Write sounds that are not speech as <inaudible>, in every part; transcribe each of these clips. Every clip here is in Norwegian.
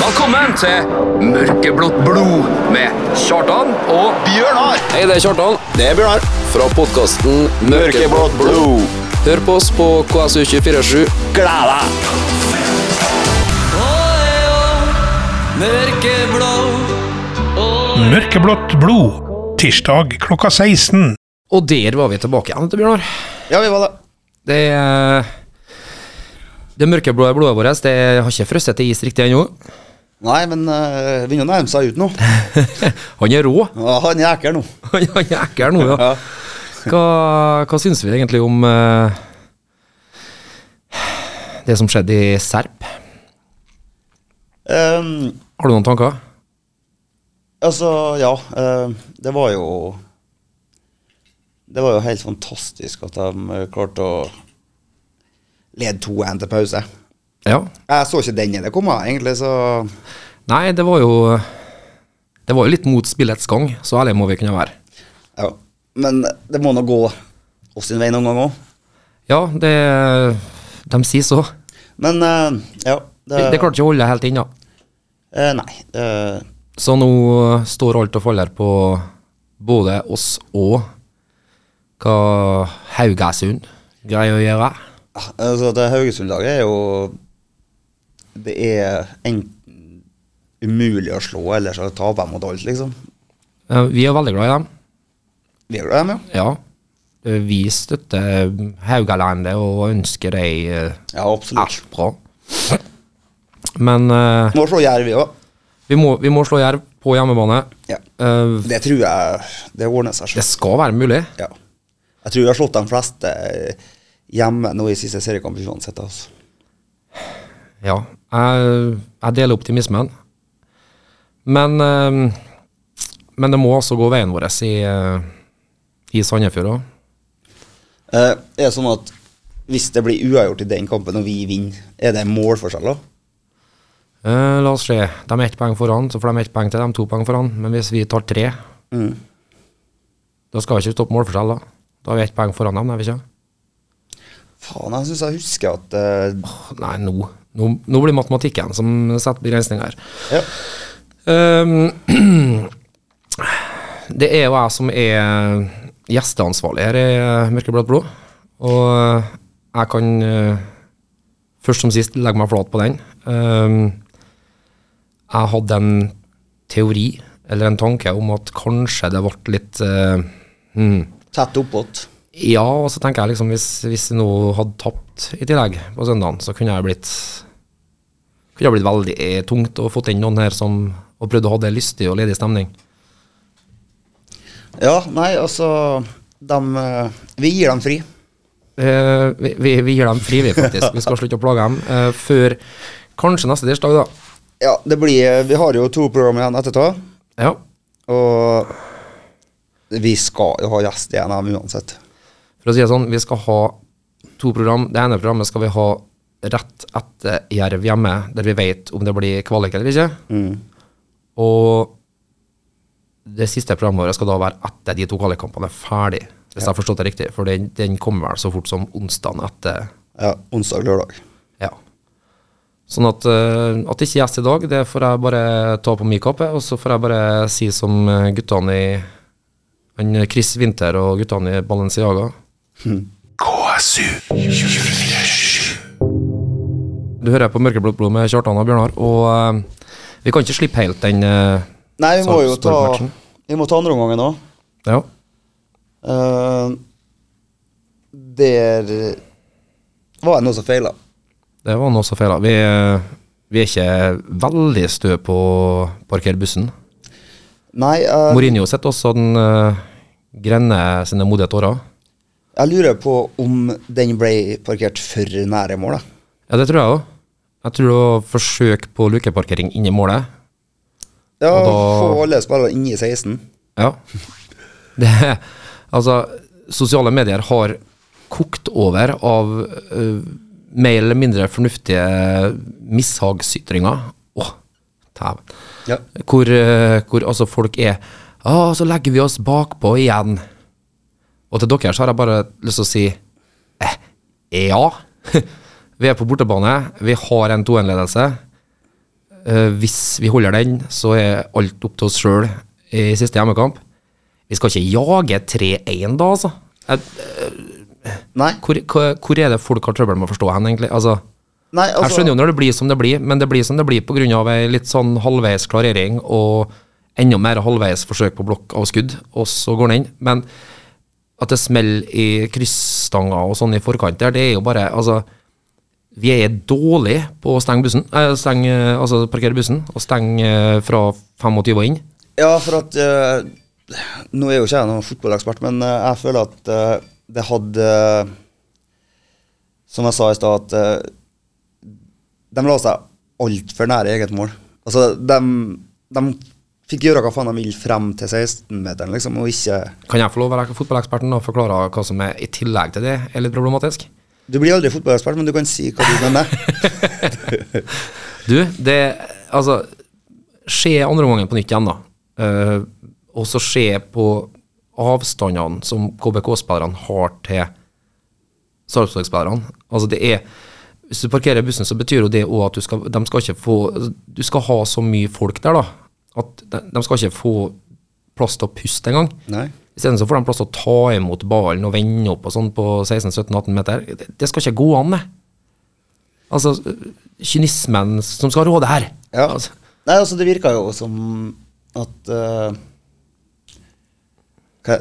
Velkommen til Mørkeblått blod med Kjartan og Bjørnar! Hei, det er Kjartan. Det er Bjørnar. Fra podkasten Mørkeblått blod. Hør på oss på KSU247. Gled deg! Mørkeblått blod. Tirsdag klokka 16. Og der var vi tilbake igjen, til Bjørnar. Ja, vi var det. Det er eh, det mørkeblå blodet vårt det har ikke frosset til is riktig ennå. Nei, men uh, begynner å nærme seg ut nå. Han er rå. <laughs> Ja, han er ekkel nå. Han er ekkel nå, ja. Ja. Hva, hva syns vi egentlig om eh, det som skjedde i Serp? Ehm, Har du noen tanker? altså, ja. eh, det var jo Det var jo helt fantastisk at de eh, klarte å lede 2-1 til pause. Ja. Jeg så ikke den det kom, jeg, egentlig, så Nei, det var jo Det var jo litt mot spillets gang, så ærlig må vi kunne være. ja. Men det må nå gå oss sin vei noen gang òg. Ja, det De sier så. Men eh, ja. Det, det klarte ikke å holde det helt inne. Eh, nei. eh, Så nå står alt og faller på både oss og hva Haugesund greier å gjøre. Ja, Altså, det Haugesund-laget er jo Det er enten umulig å slå, eller så taper de mot alt, liksom. Eh, Vi er veldig glad i dem. Vi er glad i dem, ja. Ja. Eh, Vi støtter Haugalandet og ønsker dem eh, Ja, absolutt. alt bra. Men eh, Må slå Jerv, vi òg. vi, må, vi må slå Jerv på hjemmebane. Ja. Eh, Det tror jeg Det ordner seg Det sjøl. skal være mulig. Ja. Jeg tror vi har slått de fleste eh, hjemme nå i siste seriekamp uansett. Altså. Ja, jeg, jeg deler optimismen. Men, eh, men det må også gå veien vår i, eh, i Sandefjord òg. Eh, er det sånn at hvis det blir uavgjort i den kampen, og vi vinner, er det målforskjell, da? Eh, la oss se. De er ett poeng foran, så får de ett poeng til. De to poeng foran. Men hvis vi tar tre, Mm. da skal vi ikke stoppe målforskjell, da. Da har vi ett poeng foran dem, er vi ikke? Faen, jeg syns jeg husker at eh, Nei, nå. nå Nå blir matematikken som setter begrensninger her. Ja. Ehm, <clears throat> det er jo jeg som er gjesteansvarlig her i Mørkeblått blod. Og jeg kan eh, først som sist legge meg flat på den. Ehm, jeg hadde en teori, eller en tanke, om at kanskje det ble litt eh, hmm. Tett oppåt. Ja, og så tenker jeg liksom hvis, hvis jeg nå hadde tapt i tillegg på søndagen, så kunne jeg blitt kunne jeg blitt veldig eh, tungt og fått inn noen her som og prøvd å ha det lystig og ledig stemning. Ja, nei, altså dem, eh, Vi gir dem fri. Eh, vi, vi, vi gir dem fri, vi, faktisk. Vi skal slutte å plage dem eh, før kanskje neste tirsdag, da. Ja, det blir eh, Vi har jo to program igjen etterpå. Ja. Og vi skal jo ha gjest i NM uansett. For å si det sånn, vi skal ha to program. Det ene programmet skal vi ha rett etter Jerv hjemme, der vi vet om det blir kvalik eller ikke. Og det siste programmet vårt skal da være etter de to kvalikkampene er ferdig, hvis jeg har forstått det riktig. For den, den kommer vel så fort som onsdagen etter. Ja, Onsdag, lørdag. Ja. Sånn at, eh, at det ikke er gjest i dag, det får jeg bare ta på min kappe. Og så får jeg bare si som eh, guttene i han Chris Winther og guttene i Balenciaga. KSU. Du hører på Mørkeblått blod med Kjartan og Bjørnar, og eh, vi kan ikke slippe helt den eh, Nei, vi må jo ta Sarpsborg-matchen. Vi må ta andreomgangen òg. Ja. Uh, der eh, var det noe som feila. Det var noe som feila. Vi, eh, vi er ikke veldig stø på å parkere bussen. Nei, eh, Mourinho sitter også den uh, grenne sine modige tårer. jeg lurer på om den ble parkert for nære mål. da. Ja, det tror jeg òg. Jeg tror det var forsøk på lukeparkering inni målet. Ja, Og da- få alle spillere inne i 16. Ja. <laughs> Det, altså, sosiale medier har kokt over av eh, mer eller mindre fornuftige mishagsytringer. Åh, dæven. Ja. Hvor, eh, hvor altså folk er Å, så legger vi oss bakpå igjen. Og til dere så har jeg bare lyst til å si eh, <laughs> ja. Vi er på bortebane. Vi har en 2-1-ledelse. Eh, hvis vi holder den, så er alt opp til oss sjøl i siste hjemmekamp. Vi skal ikke jage 3-1 da, altså. Jeg, Nei, hvor, hvor, hvor er det folk har trøbbel med å forstå hen, egentlig? Altså, nei altså, jeg skjønner jo når det blir som det blir, men det blir som det blir pga. ei litt sånn halvveis klarering og enda mer halvveis forsøk på blokk av skudd, og så går den inn. Men at det smeller i kryssstanger og sånn i forkant der, det er jo bare Altså, vi er dårlige på å stenge bussen, eh, stenge, eh, altså parkere bussen, og stenge eh, fra 25 og inn. Ja, for at eh, Nå er jo ikke jeg noen fotballekspert, men eh, jeg føler at eh, det hadde eh, Som jeg sa i stad, at eh, de la seg altfor nære eget mål. Altså, de, de fikk gjøre hva faen de ville frem til 16-meteren, liksom, og ikke Kan jeg få lov å være fotballeksperten og forklare hva som er i tillegg til det er litt problematisk? Du blir aldri fotballekspert, men du kan si hva du mener. Du, det Altså, se andre omgangen på nytt igjen, da. Eh, og så se på avstandene som KBK-spillerne har til Sarpsborg-spillerne. Altså, det er Hvis du parkerer bussen, så betyr jo det òg at du skal, de skal ikke få Du skal ha så mye folk der, da, at de, de skal ikke få plass til å puste engang. Nei. Isteden så får de plass til å ta imot ballen og vende opp og sånn på 16-17-18 meter. Det, det skal ikke gå an, det. Altså, kynismen som skal råde her. Ja. Altså, Nei, altså, det virka jo som at eh, hva,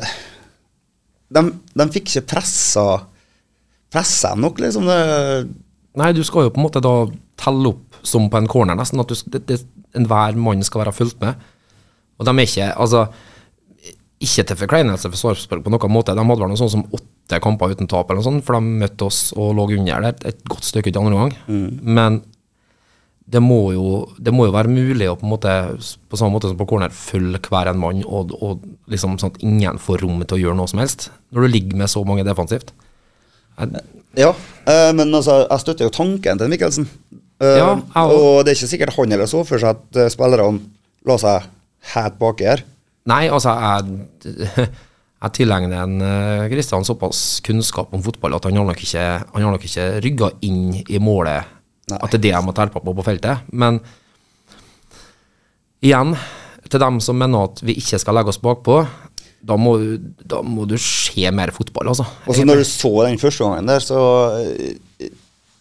de, de fikk ikke pressa Pressa dem nok, liksom. Det, nei, du skal jo på en måte da telle opp som på en corner, nesten. At du, s- det, det, enhver mann skal være fulgt med. Og de er ikke Altså, ikke til forkleinelse for Sarpsborg på noen måte. De hadde vel noe sånt som åtte kamper uten tap, eller noe sånt, for de møtte oss og lå under der et godt stykke ut i andre omgang. Men det må, jo, det må jo være mulig å på en måte, på samme måte som på corner, følge hver en mann, og, og liksom sånn at ingen får rom til å gjøre noe som helst, når du ligger med så mange defensivt. Jeg, ja, eh, men altså, jeg støtter jo tanken til Mikkelsen. Eh, Ja, jeg også. og det er ikke sikkert han eller så for seg at eh, spillerne la seg helt baki her. Nei, altså, jeg, <laughs> jeg tilegner en eh, Kristian såpass kunnskap om fotball at han har nok ikke, han har nok ikke rygga inn i målet Nei. at det er det jeg må terpe på på feltet. Men igjen, til dem som mener at vi ikke skal legge oss bakpå, da må, da må du se mer fotball, altså. Og så når du så den første gangen der, så eh,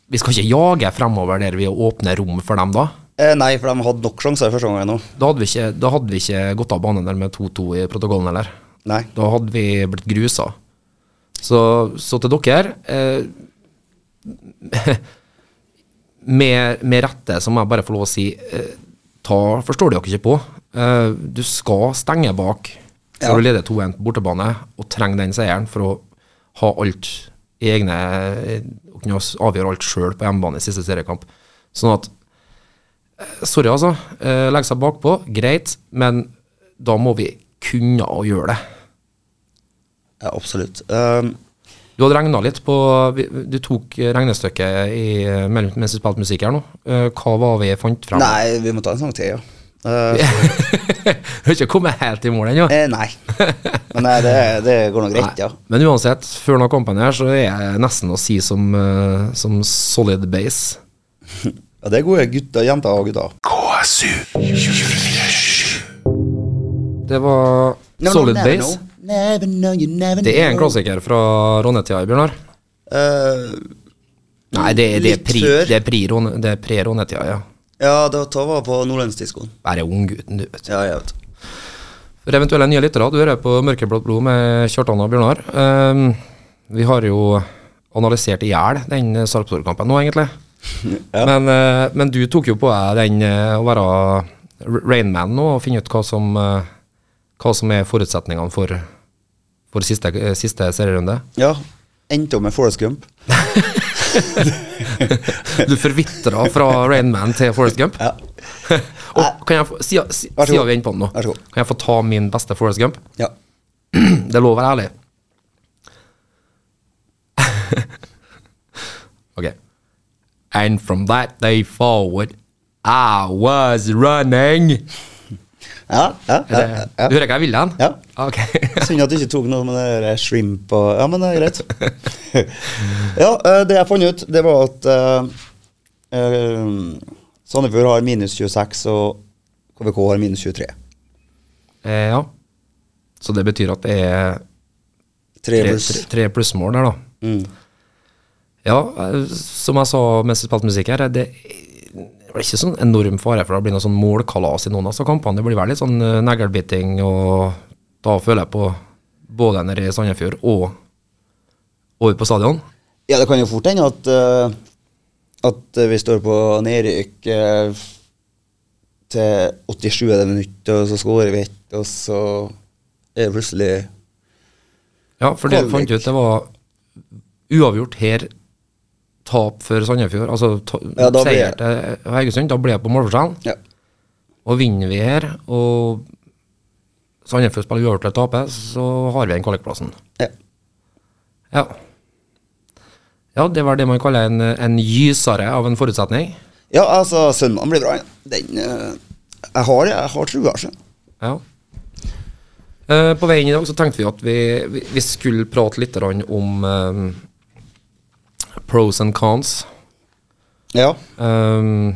Vi skal ikke jage fremover der vi åpner rom for dem da. eh, Nei, for de hadde nok sjanser første gangen òg. Da hadde vi ikke, da hadde vi ikke gått av banen der med 2-2 i protokollen, eller? Nei. Da hadde vi blitt grusa. Så, så til dere eh, <laughs> med, med rette så må jeg bare få lov å si eh, ta, Forstår dere ikke på? Eh, du skal stenge bak når Ja. du leder 2-1 på bortebane og trenger den seieren for å ha alt i egne Og kunne avgjøre alt sjøl på hjemmebane i siste seriekamp. Sånn at Sorry, altså. Eh, Legge seg bakpå, greit, men da må vi kunne å gjøre det. Ja, absolutt. Eh, Du hadde regna litt på vi- Du tok regnestykket i, mellom- mens vi spilte musikk her nå. Eh, Hva var vi fant frem? <laughs> nei, vi må ta en sang til, ja. Eh, Du har ikke kommet helt i mål ennå? Eh, nei. Men nei, det, det går nok greit, ja. Men uansett, før nå kampen her, så er jeg nesten å si som, eh, som solid base. ja. Det er gode gutter, jenter og gutter. KSU. Det var solid base. Det er en klassiker fra Ronne-tida, Bjørnar. Eh, Nei, det, det, er Litt pri, før. det er pri Ronne- det er pre-Ronne-tida, ja. ja, da tar vi på nordlandsdiskoen. Bare unggutten, du, vet du. Ja, jeg vet. For eventuelle nye lyttere, du hører på Mørkeblått blod med Kjartan og Bjørnar. Ehm, vi har jo analysert i hjel den Sarpsborg-kampen nå, <laughs> egentlig. Men, eh, men du tok jo på deg den eh, å være R- Rainman nå og finne ut hva som, eh, hva som er forutsetningene for, for siste, eh, siste <laughs> serierunde. Ja. Endte opp med Forest Gump. Du forvitra fra Rainman til Forest Gump. Ja. <laughs> og kan jeg få, siden, Vær så siden vi god. er inne på den nå, Vær så god. kan jeg få ta min beste Forest Gump? ja. <clears throat> Det er lov å være ærlig. <laughs> ok. And from that day forward, I was running. Ja, ja, Er det, ja, ja. Du hører hva jeg vil hen? Ja. Ok. <laughs> <laughs> Synd at du ikke tok noe med det der shrimp og Ja, men det er greit. <laughs> ja, eh, det jeg fant ut, det var at eh, eh, Sandefjord har minus 26, og KVK har minus 23. Eh, ja. Så det betyr at det er Tre tre, pluss. tre, tre plussmål der, da. Mm. Ja, eh, som jeg sa mens jeg spilte musikk her, det det blir ikke sånn enorm fare for det blir noe sånn målkalas i noen av disse kampene. Det blir vel litt sånn eh, neglbiting, og da føler jeg på både nede i Sandefjord og over på stadion. Ja, det kan jo fort hende at, eh, at vi står på nedrykk eh, til 87. minutt, og så skårer vi ett, og så er det plutselig Ja, for det jeg Kvalik. fant ut det var uavgjort her, tap for Sandefjord, altså ta, Ja, da blir- seier til Haugesund, da ble jeg på målforskjellen. ja. Og vinner vi her, og Sandefjord spiller uavgjort eller taper, så har vi den kvalikplassen. ja. Ja. ja, det var det man kaller en, en gysere av en forutsetning. ja, altså, søndagen blir bra. ja. Den, eh, jeg har det, jeg har trua. altså. sjø. Ja. Eh, på veien i dag så tenkte vi at vi, vi, vi skulle prate litt grann om eh, pros and cons. Ja. Ehm,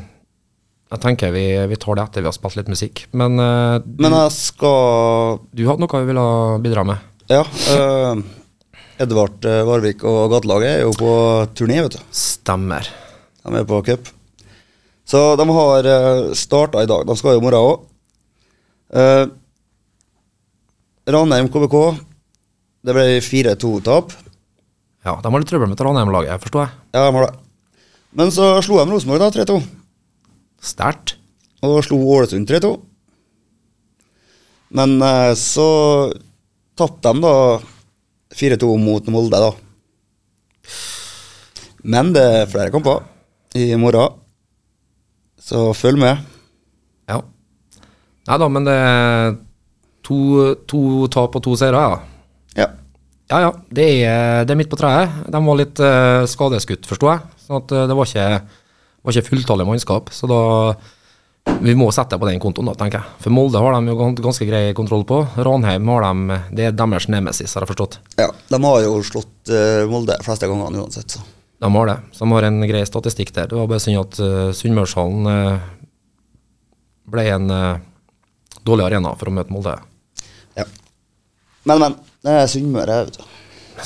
jeg tenker vi, vi tar det etter vi har spilt litt musikk. Men eh, Men jeg skal du hadde noe du ville bidra med? Ja. eh, Edvard eh, Varvik og gatelaget er jo på turné, vet du. Stemmer. De er på cup. Så de har starta i dag. De skal jo i morgen òg. Ranheim KBK. Det ble 4-2-tap. Ja, De har litt trøbbel med Trondheim-laget, forstår jeg. Ja, de har det. Men så slo de Rosenborg, da, 3-2. Sterkt. Og slo Ålesund 3-2. Men eh, så tapte de da 4-2 mot Molde, da. Men det er flere kamper i morgen, så følg med. Ja. Nei da, men det er to, to tap og to seire, ja. Ja. Ja ja, det er, det er midt på treet. De var litt eh, skadeskutt, forstår jeg. Sånn at eh, det var ikke, var ikke fulltallig mannskap. Så da Vi må sette det på den kontoen, da, tenker jeg. For Molde har de jo gans- ganske grei kontroll på. Ranheim har de Det er deres nemesis, har jeg forstått. Ja, de har jo slått eh, Molde fleste gangene uansett, så. De har det. Så de har en grei statistikk der. Det var bare synd at uh, Sunnmørshallen eh, ble en eh, dårlig arena for å møte Molde. Ja. Men, men. Det er Sunnmøre, vet du.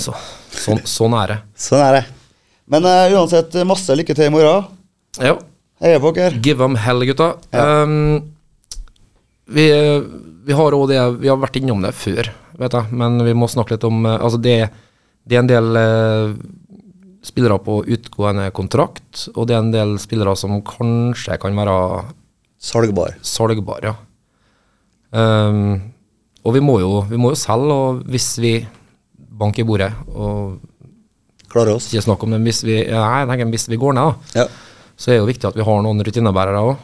Så, sånn, sånn er det. Sånn er det. Men eh, uansett, masse lykke til i morgen. Ja, Heia på dere. give them hell, gutta. Um, vi, vi har også det Vi har vært innom det før, vet jeg, men vi må snakke litt om eh, Altså, det, det er en del eh, spillere på utgående kontrakt, og det er en del spillere som kanskje kan være Salgbar. salgbar, ja. Ehm, og vi må, jo, vi må jo selge, og hvis vi banker i bordet og Klarer oss. ikke snakk om det, men hvis vi, ja, jeg tenker, hvis vi går ned, da, Ja. så er det jo viktig at vi har noen rutinebærere òg.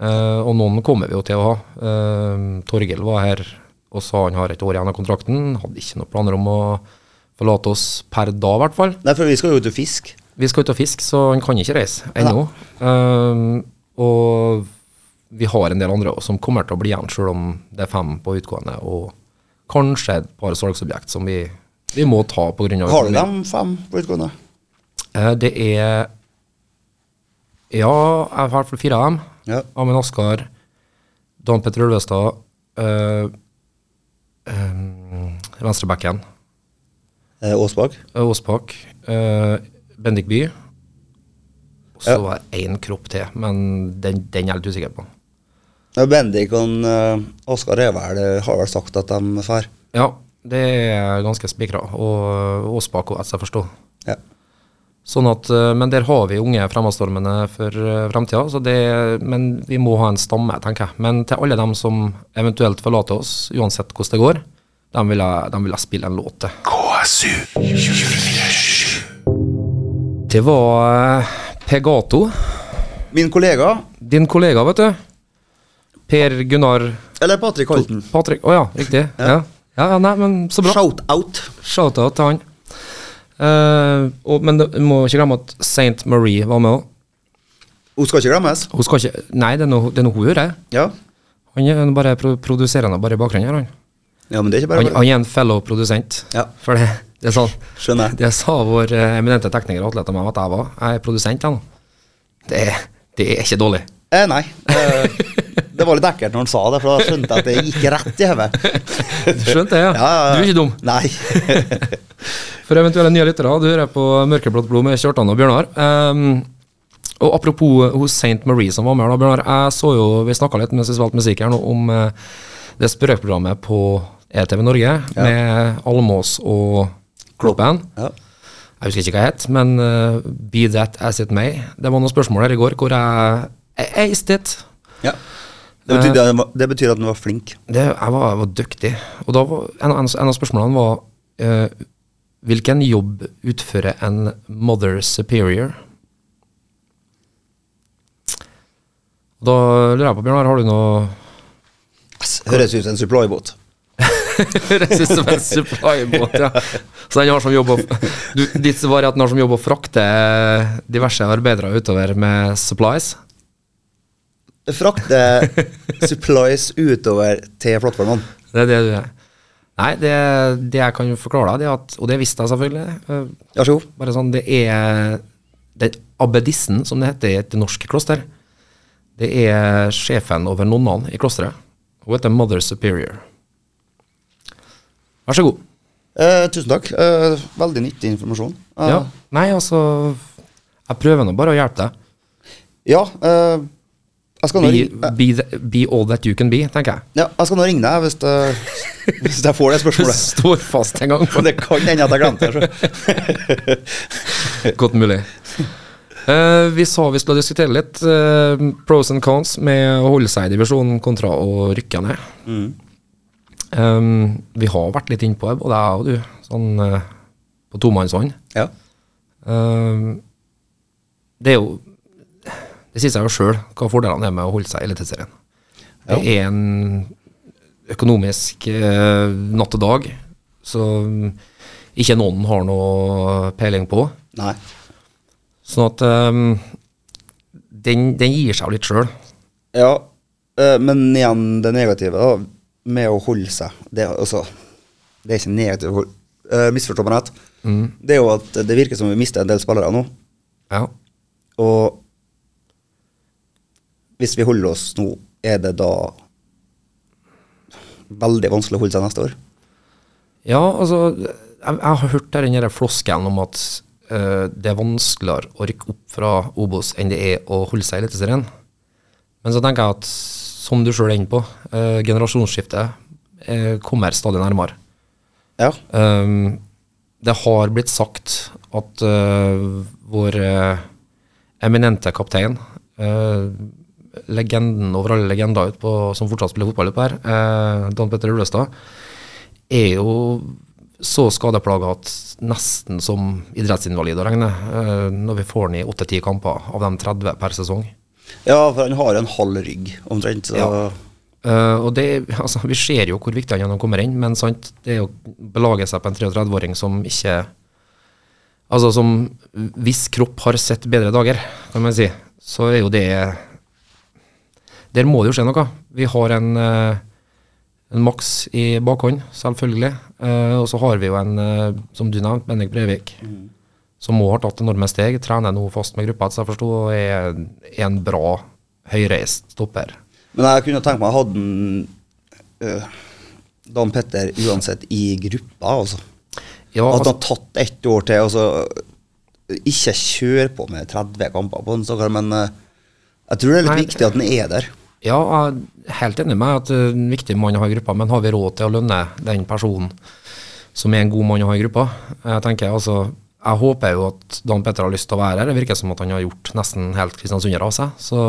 og noen kommer vi jo til å ha. Ehm, Torgill var her og sa han har et år igjen av kontrakten. Hadde ikke noen planer om å forlate oss per da, i hvert fall. Nei, for vi skal jo ut og fiske. Vi skal ut og fiske, så han kan ikke reise ennå. Ehm, og vi har en del andre også som kommer til å bli igjen, selv om det er fem på utgående og kanskje et par salgsobjekt som vi, vi må ta pga. Har du dem fem på utgående? Eh, Det er Ja, jeg har i hvert fall fire av dem. Ja. Amund Askar, Dan Petter Ulvestad, eh, eh, venstrebacken Eh, Åsbakk? Åspak, eh, Bendik By. Og så var det én kropp til, men den, den er jeg litt usikker på. Ja, Bendik og eh, Oskar er vel, har vel sagt at de drar. Ja, det er ganske spikra. Og Åspak og jeg forstår. Ja. Sånn at, eh, men der har vi unge fremadstormende for eh, fremtida, så det, men vi må ha en stamme, tenker jeg. Men til alle dem som eventuelt forlater oss, uansett hvordan det går, dem vil jeg, dem vil jeg spille en låt til. KSU 247. Det var eh, Pegato, Min kollega, din kollega, vet du. Per Gunnar eller Patrick Holten, Patrick, å ja, riktig. Ja. Ja. ja, nei, men så bra. shout-out. Shout-out til han. Eh, og, men du må ikke glemme at St. Marie var med òg. Hun skal ikke glemmes. Hun skal ikke Nei, det er noe, det er noe hun gjør, jeg. Ja. Han er en bare pro produserende bare i bakgrunnen her, han. ja, men det er ikke Han, bare han er en fellow produsent. Ja. For det, det er sånn. Skjønner jeg. Det sa vår eh, eminente tekniker Atle til meg at jeg var. Jeg er produsent, jeg nå. Det, er- det er ikke dårlig. Eh, nei. Eh, det var litt ekkelt når han sa det, for da skjønte jeg at det gikk rett i hodet. Du skjønte det, ja. <laughs> Ja, ja, ja. Du er ikke dum. <laughs> Nei. For eventuelle nye lyttere, du hører på Mørkeblått blod med Kjartan og Bjørnar. Ehm, og apropos hun St. Marie som var med her, da, Bjørnar. Jeg så jo, Vi snakka litt mens vi spilte musikk her nå, om eh, det sprøkprogrammet på ETV Norge med Almås og Kloppen. Ja. Jeg husker ikke hva jeg het, men eh, Be That As It May. Det var noen spørsmål her i går hvor jeg jeg aced it. Ja. Det, Eh. betyr, det, det betyr at han var flink. Det, jeg, var, jeg var dyktig. Og da var, en, en, en av spørsmålene var eh, Hvilken jobb utfører en mother superior? Da lurer jeg på, Bjørnar, har du <laughs> noe Ass, Høres ut som en supplybåt. Høres ut som en supplybåt, ja. Så den har som jobb å du, Ditt svar er at den har som jobb å frakte diverse arbeidere utover med supplies? Frakte <laughs> supplies utover til plattformen. Det er det du er. Nei, det, det jeg kan forklare deg, det er at Og det visste jeg selvfølgelig. eh, Vær så god. Bare sånn, det er den abbedissen, som det heter i et norsk kloster. Det er sjefen over nonnene i klosteret. Hun heter Mother Superior. Vær så god. Eh, tusen takk. Eh, veldig nyttig informasjon. Eh, Ja. Nei, altså Jeg prøver nå bare å hjelpe deg. ja, eh, jeg skal nå ringe eh, Be, be, the, be all that you can be, tenker jeg. ja, jeg skal nå ringe deg hvis, eh, hvis jeg får det <laughs> spørsmålet. <laughs> Står fast en gang. For det kan hende at jeg glemte det. så. Godt mulig. Eh, vi sa vi skulle diskutere litt eh, pros and cons med å holde seg i divisjonen kontra å rykke ned. Eh, vi har vært litt innpå det, både jeg og du, sånn eh, på tomannshånd. Ja. Eh, det er jo Det sier seg jo sjøl hva fordelene er med å holde seg i Eliteserien. Det er en økonomisk eh, natt og dag som ikke noen har noe peiling på. Nei. Sånn at ehm, den, den gir seg jo litt sjøl. Ja, eh, men igjen det negative da, med å holde seg. Det, er altså, det er ikke negativt. å holde- eh, Misforstå meg rett. Det er jo at det virker som vi mister en del spillere nå. Ja. Og hvis vi holder oss nå, er det da veldig vanskelig å holde seg neste år? ja, altså Jeg, jeg har hørt der den der floskelen om at eh, det er vanskeligere å rykke opp fra Obos enn det er å holde seg i Eliteserien. Men så tenker jeg at, som du sjøl er inne på, eh, generasjonsskiftet eh, kommer stadig nærmere. Ja. Ehm, det har blitt sagt at øh, vår øh, eminente kaptein, øh, legenden over alle legender ut på, som fortsatt spiller fotball utpå her, øh, Dan Petter Ulestad, er jo så skadeplaga at nesten som idrettsinvalid å regne, øh, når vi får han i 8-10 kamper av de 30 per sesong. ja, for han har en halv rygg omtrent. Så Ja. Eh, og det, altså, Vi ser jo hvor viktig han er når han kommer inn, men sant, det er å belage seg på en 33-åring som ikke Altså som Hvis kropp har sett bedre dager, kan man si, så er jo det Der må det jo skje noe. Vi har en, eh, en maks i bakhånd, selvfølgelig. Eh, og så har vi jo en, eh, som du nevnte, Bendik Brevik. Som må ha tatt enorme steg. Trener nå fast med gruppa, etter jeg forsto, og er er en bra høyreist stopper. Men jeg kunne tenkt meg å ha den eh, Dan Petter uansett i gruppa, altså. Ja, At altså- han har tatt ett år til, og så ikke kjør på med 30 kamper på den, stakkar. Men eh, jeg tror det er litt Nei. viktig at han er der. Ja, jeg er helt enig med at det er en viktig mann å ha i gruppa, men har vi råd til å lønne den personen som er en god mann å ha i gruppa? Jeg tenker altså, jeg håper jo at Dan Petter har lyst til å være her. Det virker som at han har gjort nesten helt kristiansunder av seg. Så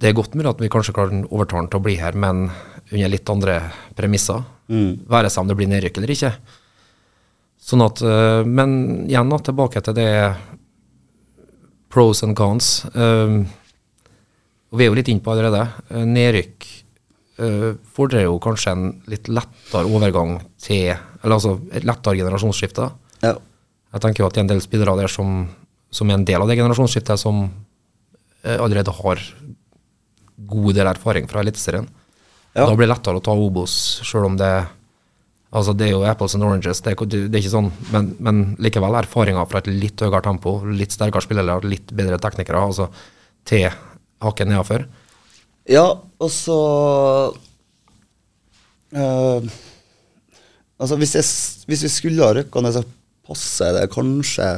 det er godt mulig at vi kanskje kan overtale han til å bli her, men under litt andre premisser. Være seg om det blir nedrykk eller ikke. Sånn at, øh, Men igjen, da, tilbake til det pros and cons. Um, og Vi er jo litt inne på allerede. Eh, Nedrykk eh, fordrer jo kanskje en litt lettere overgang til Eller altså et lettere generasjonsskifte. Ja. Jeg tenker jo at det er en del spillere der som, som er en del av det generasjonsskiftet, som eh, allerede har god del erfaring fra Eliteserien. Ja. Da blir det lettere å ta Obos, sjøl om det Altså, det er jo apples and oranges, det er, ikke- det er ikke sånn, men, men likevel erfaringer fra et litt høyere tempo, litt sterkere spillere, litt bedre teknikere. Altså, til haken nedafor. Ja, og så eh, Altså, hvis, jeg, s- hvis vi skulle ha røkka ned, så passer det kanskje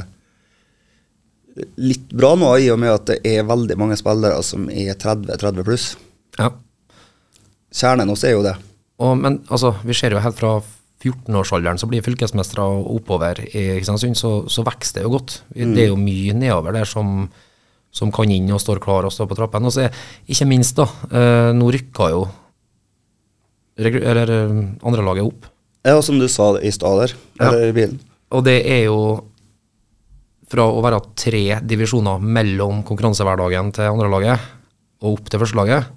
litt bra nå, i og med at det er veldig mange spillere som er 30-30 pluss. Ja. Kjernen hos er jo det. Og, men altså, vi ser jo helt fra 14-årsalderen så blir fylkesmestere og oppover i Kristiansund, så, så vokser det jo godt. Vi- Det er jo mye nedover der som, som kan inn og står klar og står på trappene. Og så er, ikke minst, da, eh, nå rykka jo regru- eller eh, andrelaget opp. Ja, og som du sa i stad der, Ja. eller i bilen. Og det er jo fra å være tre divisjoner mellom konkurransehverdagen til andrelaget og opp til førstelaget,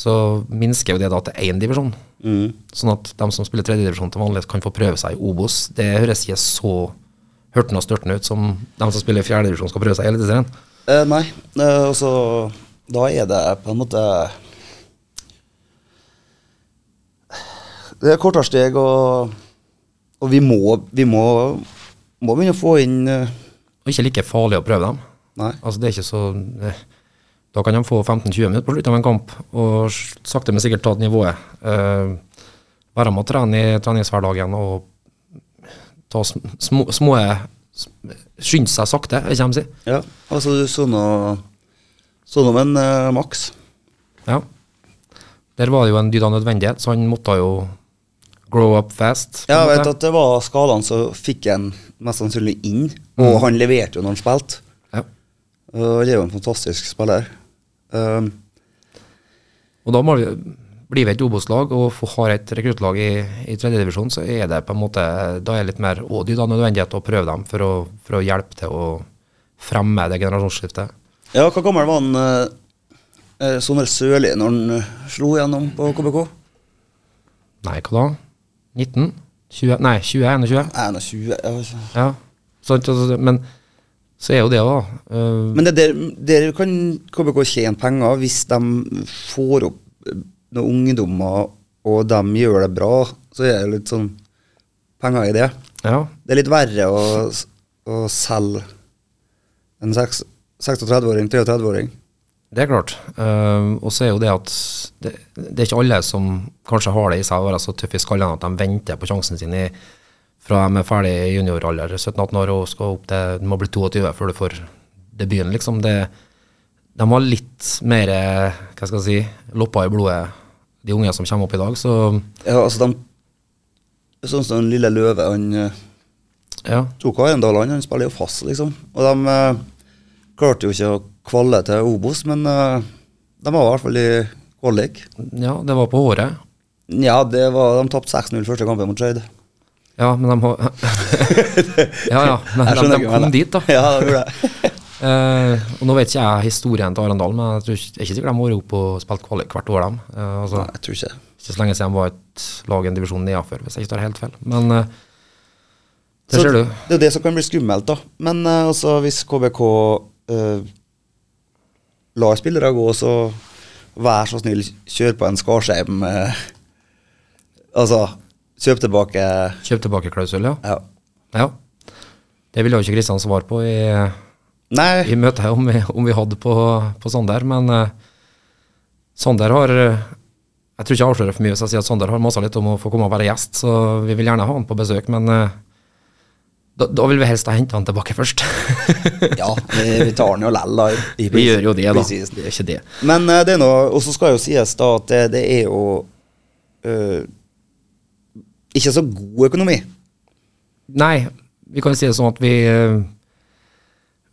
så minsker jo det da til én divisjon. Sånn at de som spiller tredjedivisjon til vanlig, kan få prøve seg i Obos. Det høres ikke så hørten og størten ut som de som spiller fjerdedivisjon skal prøve seg i Eliteserien. Eh, nei, eh, og så Da er det på en måte Det er kortere steg, og, og vi må Vi må, må begynne å få inn eh, Og ikke like farlig å prøve dem. Nei. Altså, det er ikke så eh, Da kan de få 15-20 minutter på slutten av en kamp og s- sakte, men sikkert ta nivået. Eh, være med å trene i treningshverdagen og ta sm- små, små sm- Skynde seg sakte, vil jeg si. Ja, altså du så nå Så nå med en eh, Max. Ja. Der var det jo en dyd av nødvendighet, så han måtte jo grow up fast. på en Ja, jeg måte. vet at det var skadene, så fikk han mest sannsynlig inn. Og han leverte jo når han spilte. ja. Og det er jo en fantastisk spiller. Um, Og da må vi blir vi et Obos-lag og få- har et rekruttlag i, i tredjedivisjon, så er det på en måte da er det litt mer ådig da nødvendighet å prøve dem for å, for å hjelpe til å fremme det generasjonsskiftet. ja, hva gammel var han eh, eh, Sondre Sørli når han eh, slo gjennom på KBK? Nei, hva da? 19? 20, nei, 20? 21? 21 ja, altså. Ja. Så, så, så, men så er jo det òg. Uh, Men det der, der kan KBK tjene penger hvis de får opp eh, noen ungdommer, og de gjør det bra. Så er det litt sånn penger i det. ja. Det er litt verre å, å selge en seks- 36-åring, 33-åring. Det er klart. Eh, og så er jo det at det, det er ikke alle som kanskje har det i seg å være så tøff i skallen at de venter på sjansen sin i, fra de er ferdig i junioralder, 17-18 år og skal opp til du må bli 22 før du får debuten. Liksom. Det, de har litt mer eh, hva skal jeg si, lopper i blodet, de unge som kommer opp i dag. Så Ja, altså de Sånn som den lille Løve, han eh, ja, tok Arendal, han, han spiller jo fast, liksom. Og de eh, klarte jo ikke å kvalle til Obos, men eh, de var i hvert fall i kvalik. ja det var på håret. Ja, det var, de tapte 6-0 første kampen mot Skeid. Ja, men de har <laughs> <laughs> Ja, ja. Men de, Jeg skjønner de ikke hva kom det- dit, da. <laughs> Ja, det <laughs> gjorde jeg. Eh, og Nå vet ikke jeg historien til Arendal, men jeg tror ikke, jeg er ikke sikkert de har vært oppe og spilt kvalik hvert år. dem. Eh, altså, Nei, jeg tror ikke det. ikke så lenge siden de var et lag i en divisjon nedenfor, hvis jeg ikke tar helt feil. Men eh, Så det ser du. Det er jo det som kan bli skummelt, da. Men eh, altså, hvis KBK eh, lar spillere gå, så vær så snill, kjør på en Skarsheim. eh, <laughs> altså, kjøp tilbake Kjøp tilbake-klausul, ja. ja. ja. Det ville jo ikke Kristian svare på i, Nei, i møtet om vi, om vi hadde på, på Sander, men eh, Sander har eh, Jeg tror ikke jeg avslører for mye hvis jeg sier at Sander har masa litt om å få komme og være gjest, så vi vil gjerne ha han på besøk, men eh, da, da vil vi helst ha hente han tilbake først. ja, vi, vi tar den jo lell, da. i- i <laughs> Vi gjør jo det, da. preseason. Det er ikke det. Men eh, det er noe, og så skal jo sies da at det, det er jo eh, ikke så god økonomi. Nei, vi kan si det sånn at vi eh,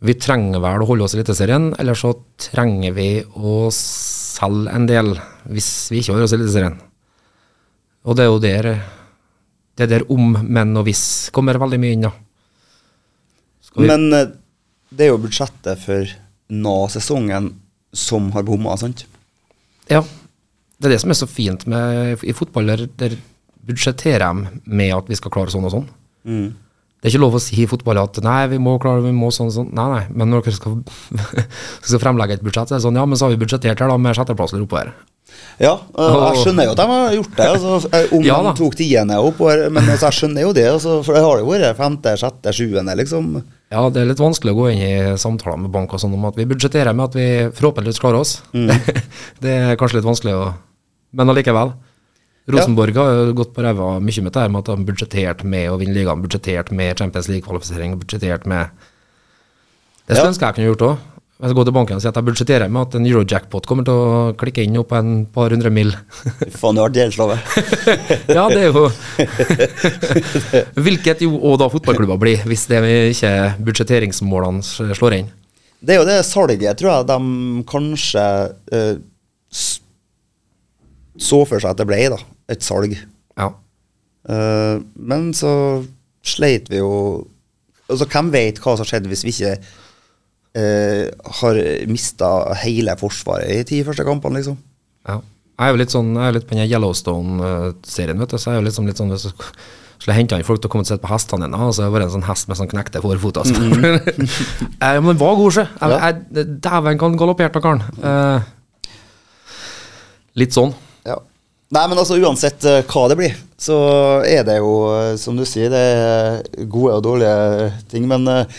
Vi trenger vel å holde oss i Eliteserien, eller så trenger vi å selge en del hvis vi ikke holder oss i Eliteserien. Og det er jo der det der om, men og hvis kommer veldig mye inn, da. Skal vi- Men eh, det er jo budsjettet for NA-sesongen som har bomma, sant? Ja. Det er det som er så fint med i fotball, der, der budsjetterer de med at vi skal klare sånn og sånn. Det er ikke lov å si i fotball at nei, vi må klare vi må sånn og sånn. Nei, nei, men når dere skal, <laughs> skal fremlegge et budsjett, så er det sånn ja, men så har vi budsjettert her da med sjetteplass eller oppover. Ja, eh, jeg Og- skjønner jo at de har gjort det. Altså, eh, om Ja da. de tok tiende opp, og- men altså, jeg skjønner jo det. Altså, for det har jo vært femte, sjette, sjuende, liksom. Ja, det er litt vanskelig å gå inn i samtaler med bank og sånn om at vi budsjetterer med at vi forhåpentligvis klarer oss. <laughs> det er kanskje litt vanskelig å Men allikevel. Rosenborg har jo gått på ræva mye med det her med at de har budsjettert med å vinne ligaen, budsjettert med Champions League-kvalifisering, budsjettert med Det skulle Ja. ønske jeg kunne gjort òg. Jeg skal gå til banken og si at jeg budsjetterer med at en euro-jackpot kommer til å klikke inn opp på en par hundre mil. Fy Faen, du har vært gjeldsslave. ja, det er jo <laughs> Hvilket jo òg da fotballklubber blir, hvis det ikke budsjetteringsmålene slår inn. Det er jo det salget, tror jeg, de kanskje eh, s- så for seg at det ble, da. Et salg. Ja. Eh, men så sleit vi jo Altså, hvem vet hva som skjedde hvis vi ikke eh, har mista hele Forsvaret i de ti første kampene, liksom? Ja. Jeg er jo litt sånn, jeg er litt på den Yellowstone-serien, vet du, så jeg er jo litt sånn, litt sånn hvis du sk- skulle hente inn folk til å komme og sitte på hestene dine, og så har det vært en sånn hest med sånn knekte forfot. Altså. <laughs> Eh, men den var god, sjø. Jeg- jeg- Dæven, han galopperte, karen. Eh, litt sånn. Ja. Nei, men altså uansett eh, hva det blir, så er det jo, eh, som du sier, det er gode og dårlige ting. Men eh,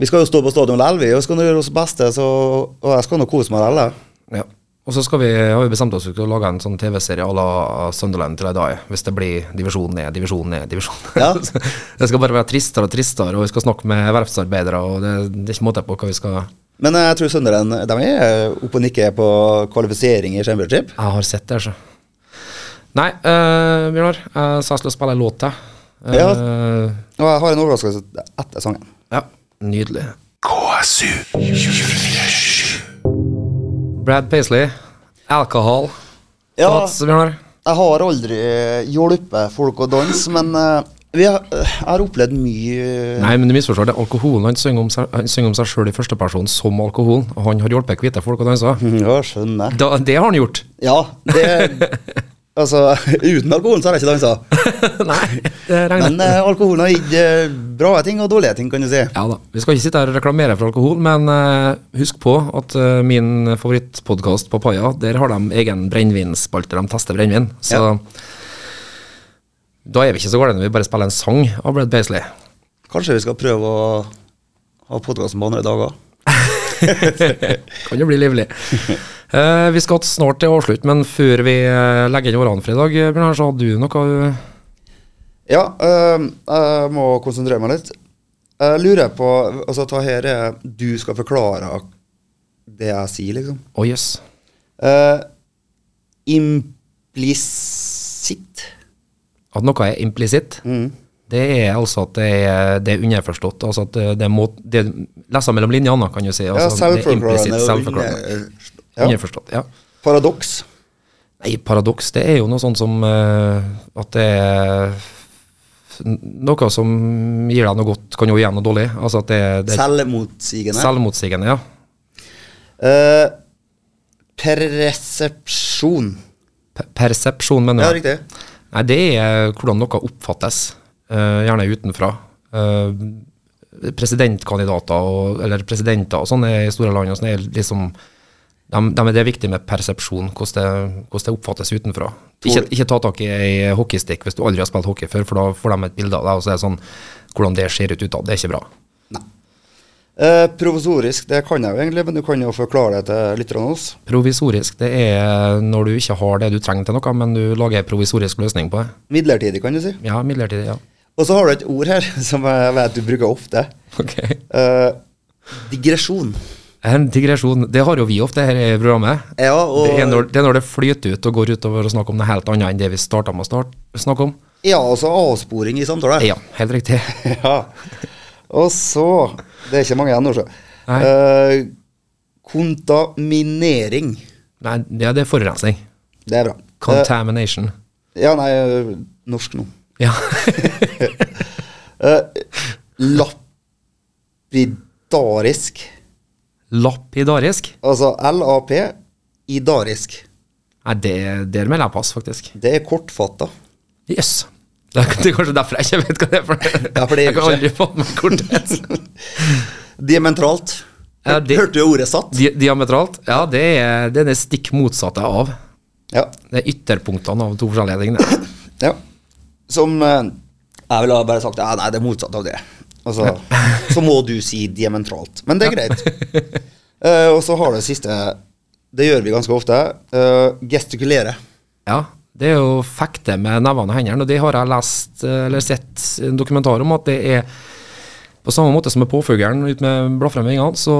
vi skal jo stå på stadion likevel, vi. Og skal nå gjøre oss beste, så, og jeg skal nå kose meg likevel. jeg. Ja. Og så skal vi, har vi bestemt oss for å lage en sånn TV-serie à la Sunderland til i dag, hvis det blir divisjon ned, divisjon ned, divisjon Ja. <laughs> Det skal bare være tristere og tristere, og vi skal snakke med verftsarbeidere, og det, det er ikke måte på hva vi skal Men eh, jeg tror Sunderland de er oppe og nikker på kvalifisering i championship. Jeg har sett det, altså. Nei, uh, Bjørnar, jeg sa jeg skulle spille en låt til. Eh, Ja. Og jeg har en overraskelse etter sangen. ja. Nydelig. KSU. Brad Paisley, 'Alcohol'. Ja, Sats, Bjørnar. jeg har aldri eh, hjulpet folk å danse, men eh, vi har, jeg har opplevd mye eh, Nei, men du misforstår. Det er alkoholen. Han synger om seg, han synger om seg sjøl i førsteperson som alkoholen, og han har hjulpet hvite folk å danse. Ja, Mm, skjønner. Da, det har han gjort. <laughs> Ja, det <laughs> Altså, uten alkoholen så har jeg ikke dansa. Nei, det regner Men jeg eh, alkoholen har gitt eh, bra ting og dårlige ting, kan du si. Ja da. Vi skal ikke sitte her og reklamere for alkohol, men eh, husk på at eh, min favorittpodkast, Papaya, der har de egen brennevinspalte. De tester brennevin. Så Ja. da er vi ikke så gale når vi bare spiller en sang av Brad Paisley. Kanskje vi skal prøve å ha podkasten på andre dager. Kan jo bli livlig. Eh, vi skal snart til avslutt, men før vi eh, legger inn årene for i dag, eh, Bjørnar, så hadde du noe eh, Ja, eh, jeg må konsentrere meg litt. Jeg lurer på Altså, ta her er Du skal forklare det jeg sier, liksom. Å, jøss. Eh, implisitt. At noe er implisitt. Mm. Det er altså at det er, det er underforstått. Altså at det er må, det er lesa mellom linjene, kan du si. Ja, Altså, det er implisitt, self-forklarende. self-forklarende. Ja. Underforstått, ja. Paradoks. Nei, paradoks, det er jo noe sånt som eh, at det er noe som gir deg noe godt, kan jo gi deg noe dårlig. Altså at det, det er Selvmotsigende. selvmotsigende, ja. Eh, persepsjon. Pe- Persepsjon, mener Ja, jeg. riktig. Nei, det er hvordan noe oppfattes, eh, gjerne utenfra. Eh, presidentkandidater og, eller presidenter og sånn er i store land og sånn er liksom de, er det er viktig med persepsjon, hvordan det, hvordan det oppfattes utenfra. Ikke, ikke ta tak i ei hockeystick hvis du aldri har spilt hockey før, for da får de et bilde av deg, og så er det sånn Hvordan det ser ut utad, det er ikke bra. Eh, provosorisk, det kan jeg jo egentlig, men du kan jo forklare det til lytterne hos. Provisorisk, det er når du ikke har det du trenger til noe, men du lager ei provisorisk løsning på det. Midlertidig, kan du si. Ja, midlertidig, ja. Og så har du et ord her <laughs> som jeg vet du bruker ofte. Ok. Eh, digresjon. Eh, En digresjon, det har jo vi ofte her i programmet. Ja, og- det, er når, det er når det flyter ut og går utover å snakke om noe helt annet enn det vi starta med å start, snakke om. Ja, altså avsporing i samtale. Ja, helt riktig. <laughs> Ja. Og så Det er ikke mange igjen nå, så. Nei. Eh, kontaminering. Nei, ja, det er forurensning. Det er bra. Eh, Contamination. ja, nei, eh, norsk nå. Ja. <laughs> Eh, lapidarisk. Lapidarisk. Altså LAP idarisk. Nei, det, der melder jeg pass, faktisk. Det er kortfatta. <laughs> Jøss. Yes. Det er det er kanskje derfor jeg ikke vet hva det er for Ja, for det er Jeg kan jo aldri få meg kortet. Diametralt. Ja, Hør- det- Hørte du ordet satt? Di diametralt. Ja, det er det, er det stikk motsatte av. Ja. Det er ytterpunktene av to forskjellige ting. det. ja. Som eh, Jeg ville ha bare sagt ja, nei, det er motsatt av det. Altså, så må du si diametralt. Men det er greit. Eh, og så har det siste Det gjør vi ganske ofte. eh, gestikulere. Ja, det er jo fekte med nevene og hendene, og det har jeg lest eh, eller sett en dokumentar om, at det er på samme måte som med påfuglen ut med blafra med vingene, så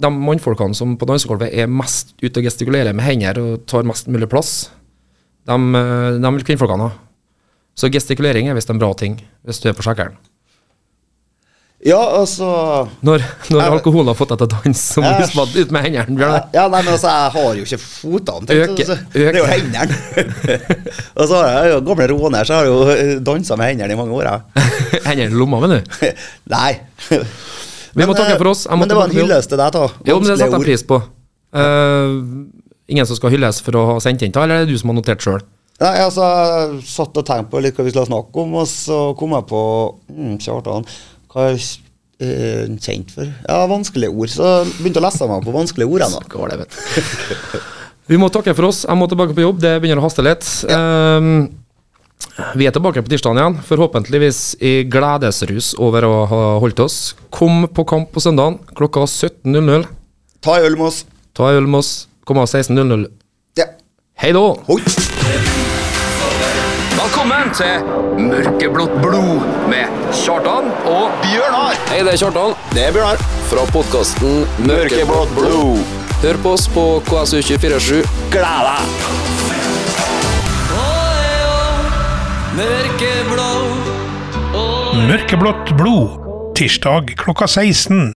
de mannfolkene som på dansegulvet er mest ute og gestikulerer med hender og tar mest mulig plass, de, eh, de vil kvinnfolkene ha. Så gestikulering er visst en bra ting, hvis du er på sjekkeren. Ja, altså Når, når Jeg- alkoholen har fått deg til å danse, så må du Jeg- smadde ut med hendene, Bjørn. Ja, nei, men altså, jeg har jo ikke fotene. tenkte jeg, Øke- så Det er jo øke. <laughs> hendene. og så har jeg jo gamle råner, så jeg har jo eh, dansa med hendene i mange år. Jeg. <laughs> <laughs> Hendene i lomma, mener du. nei. Vi må takke eh, for oss. Jeg Men måtte det var en bare- hyllest til deg, da. Jo, men det Vanskelige setter jeg ord. pris på. Eh, ingen som skal hylles for å ha sendt inn ta, eller er det du som har notert sjøl? Nei, altså, jeg satt og tenkte på litt hva vi skulle snakke om, og så kom jeg på mm, Kjartan, hva er eh, han kjent for? Ja, vanskelige ord. Så jeg begynte å lese meg på vanskelige ord. ennå. <laughs> Vi må takke for oss. Jeg må tilbake på jobb, det begynner å haste litt. Eh, vi er tilbake på tirsdagen igjen, forhåpentligvis i gledesrus over å ha holdt oss. Kom på kamp på søndagen klokka 17.00. Ta en øl med oss. Ta en øl med oss. Kom av 16.00. Ja. Hei da! Hoi. Velkommen til Mørkeblått blod med Kjartan og Bjørnar! Hei, det er Kjartan Det er Bjørnar. fra podkasten Mørkeblått blod. Hør på oss på KSU247. Gled deg! Mørkeblå Mørkeblått blod. Tirsdag klokka 16.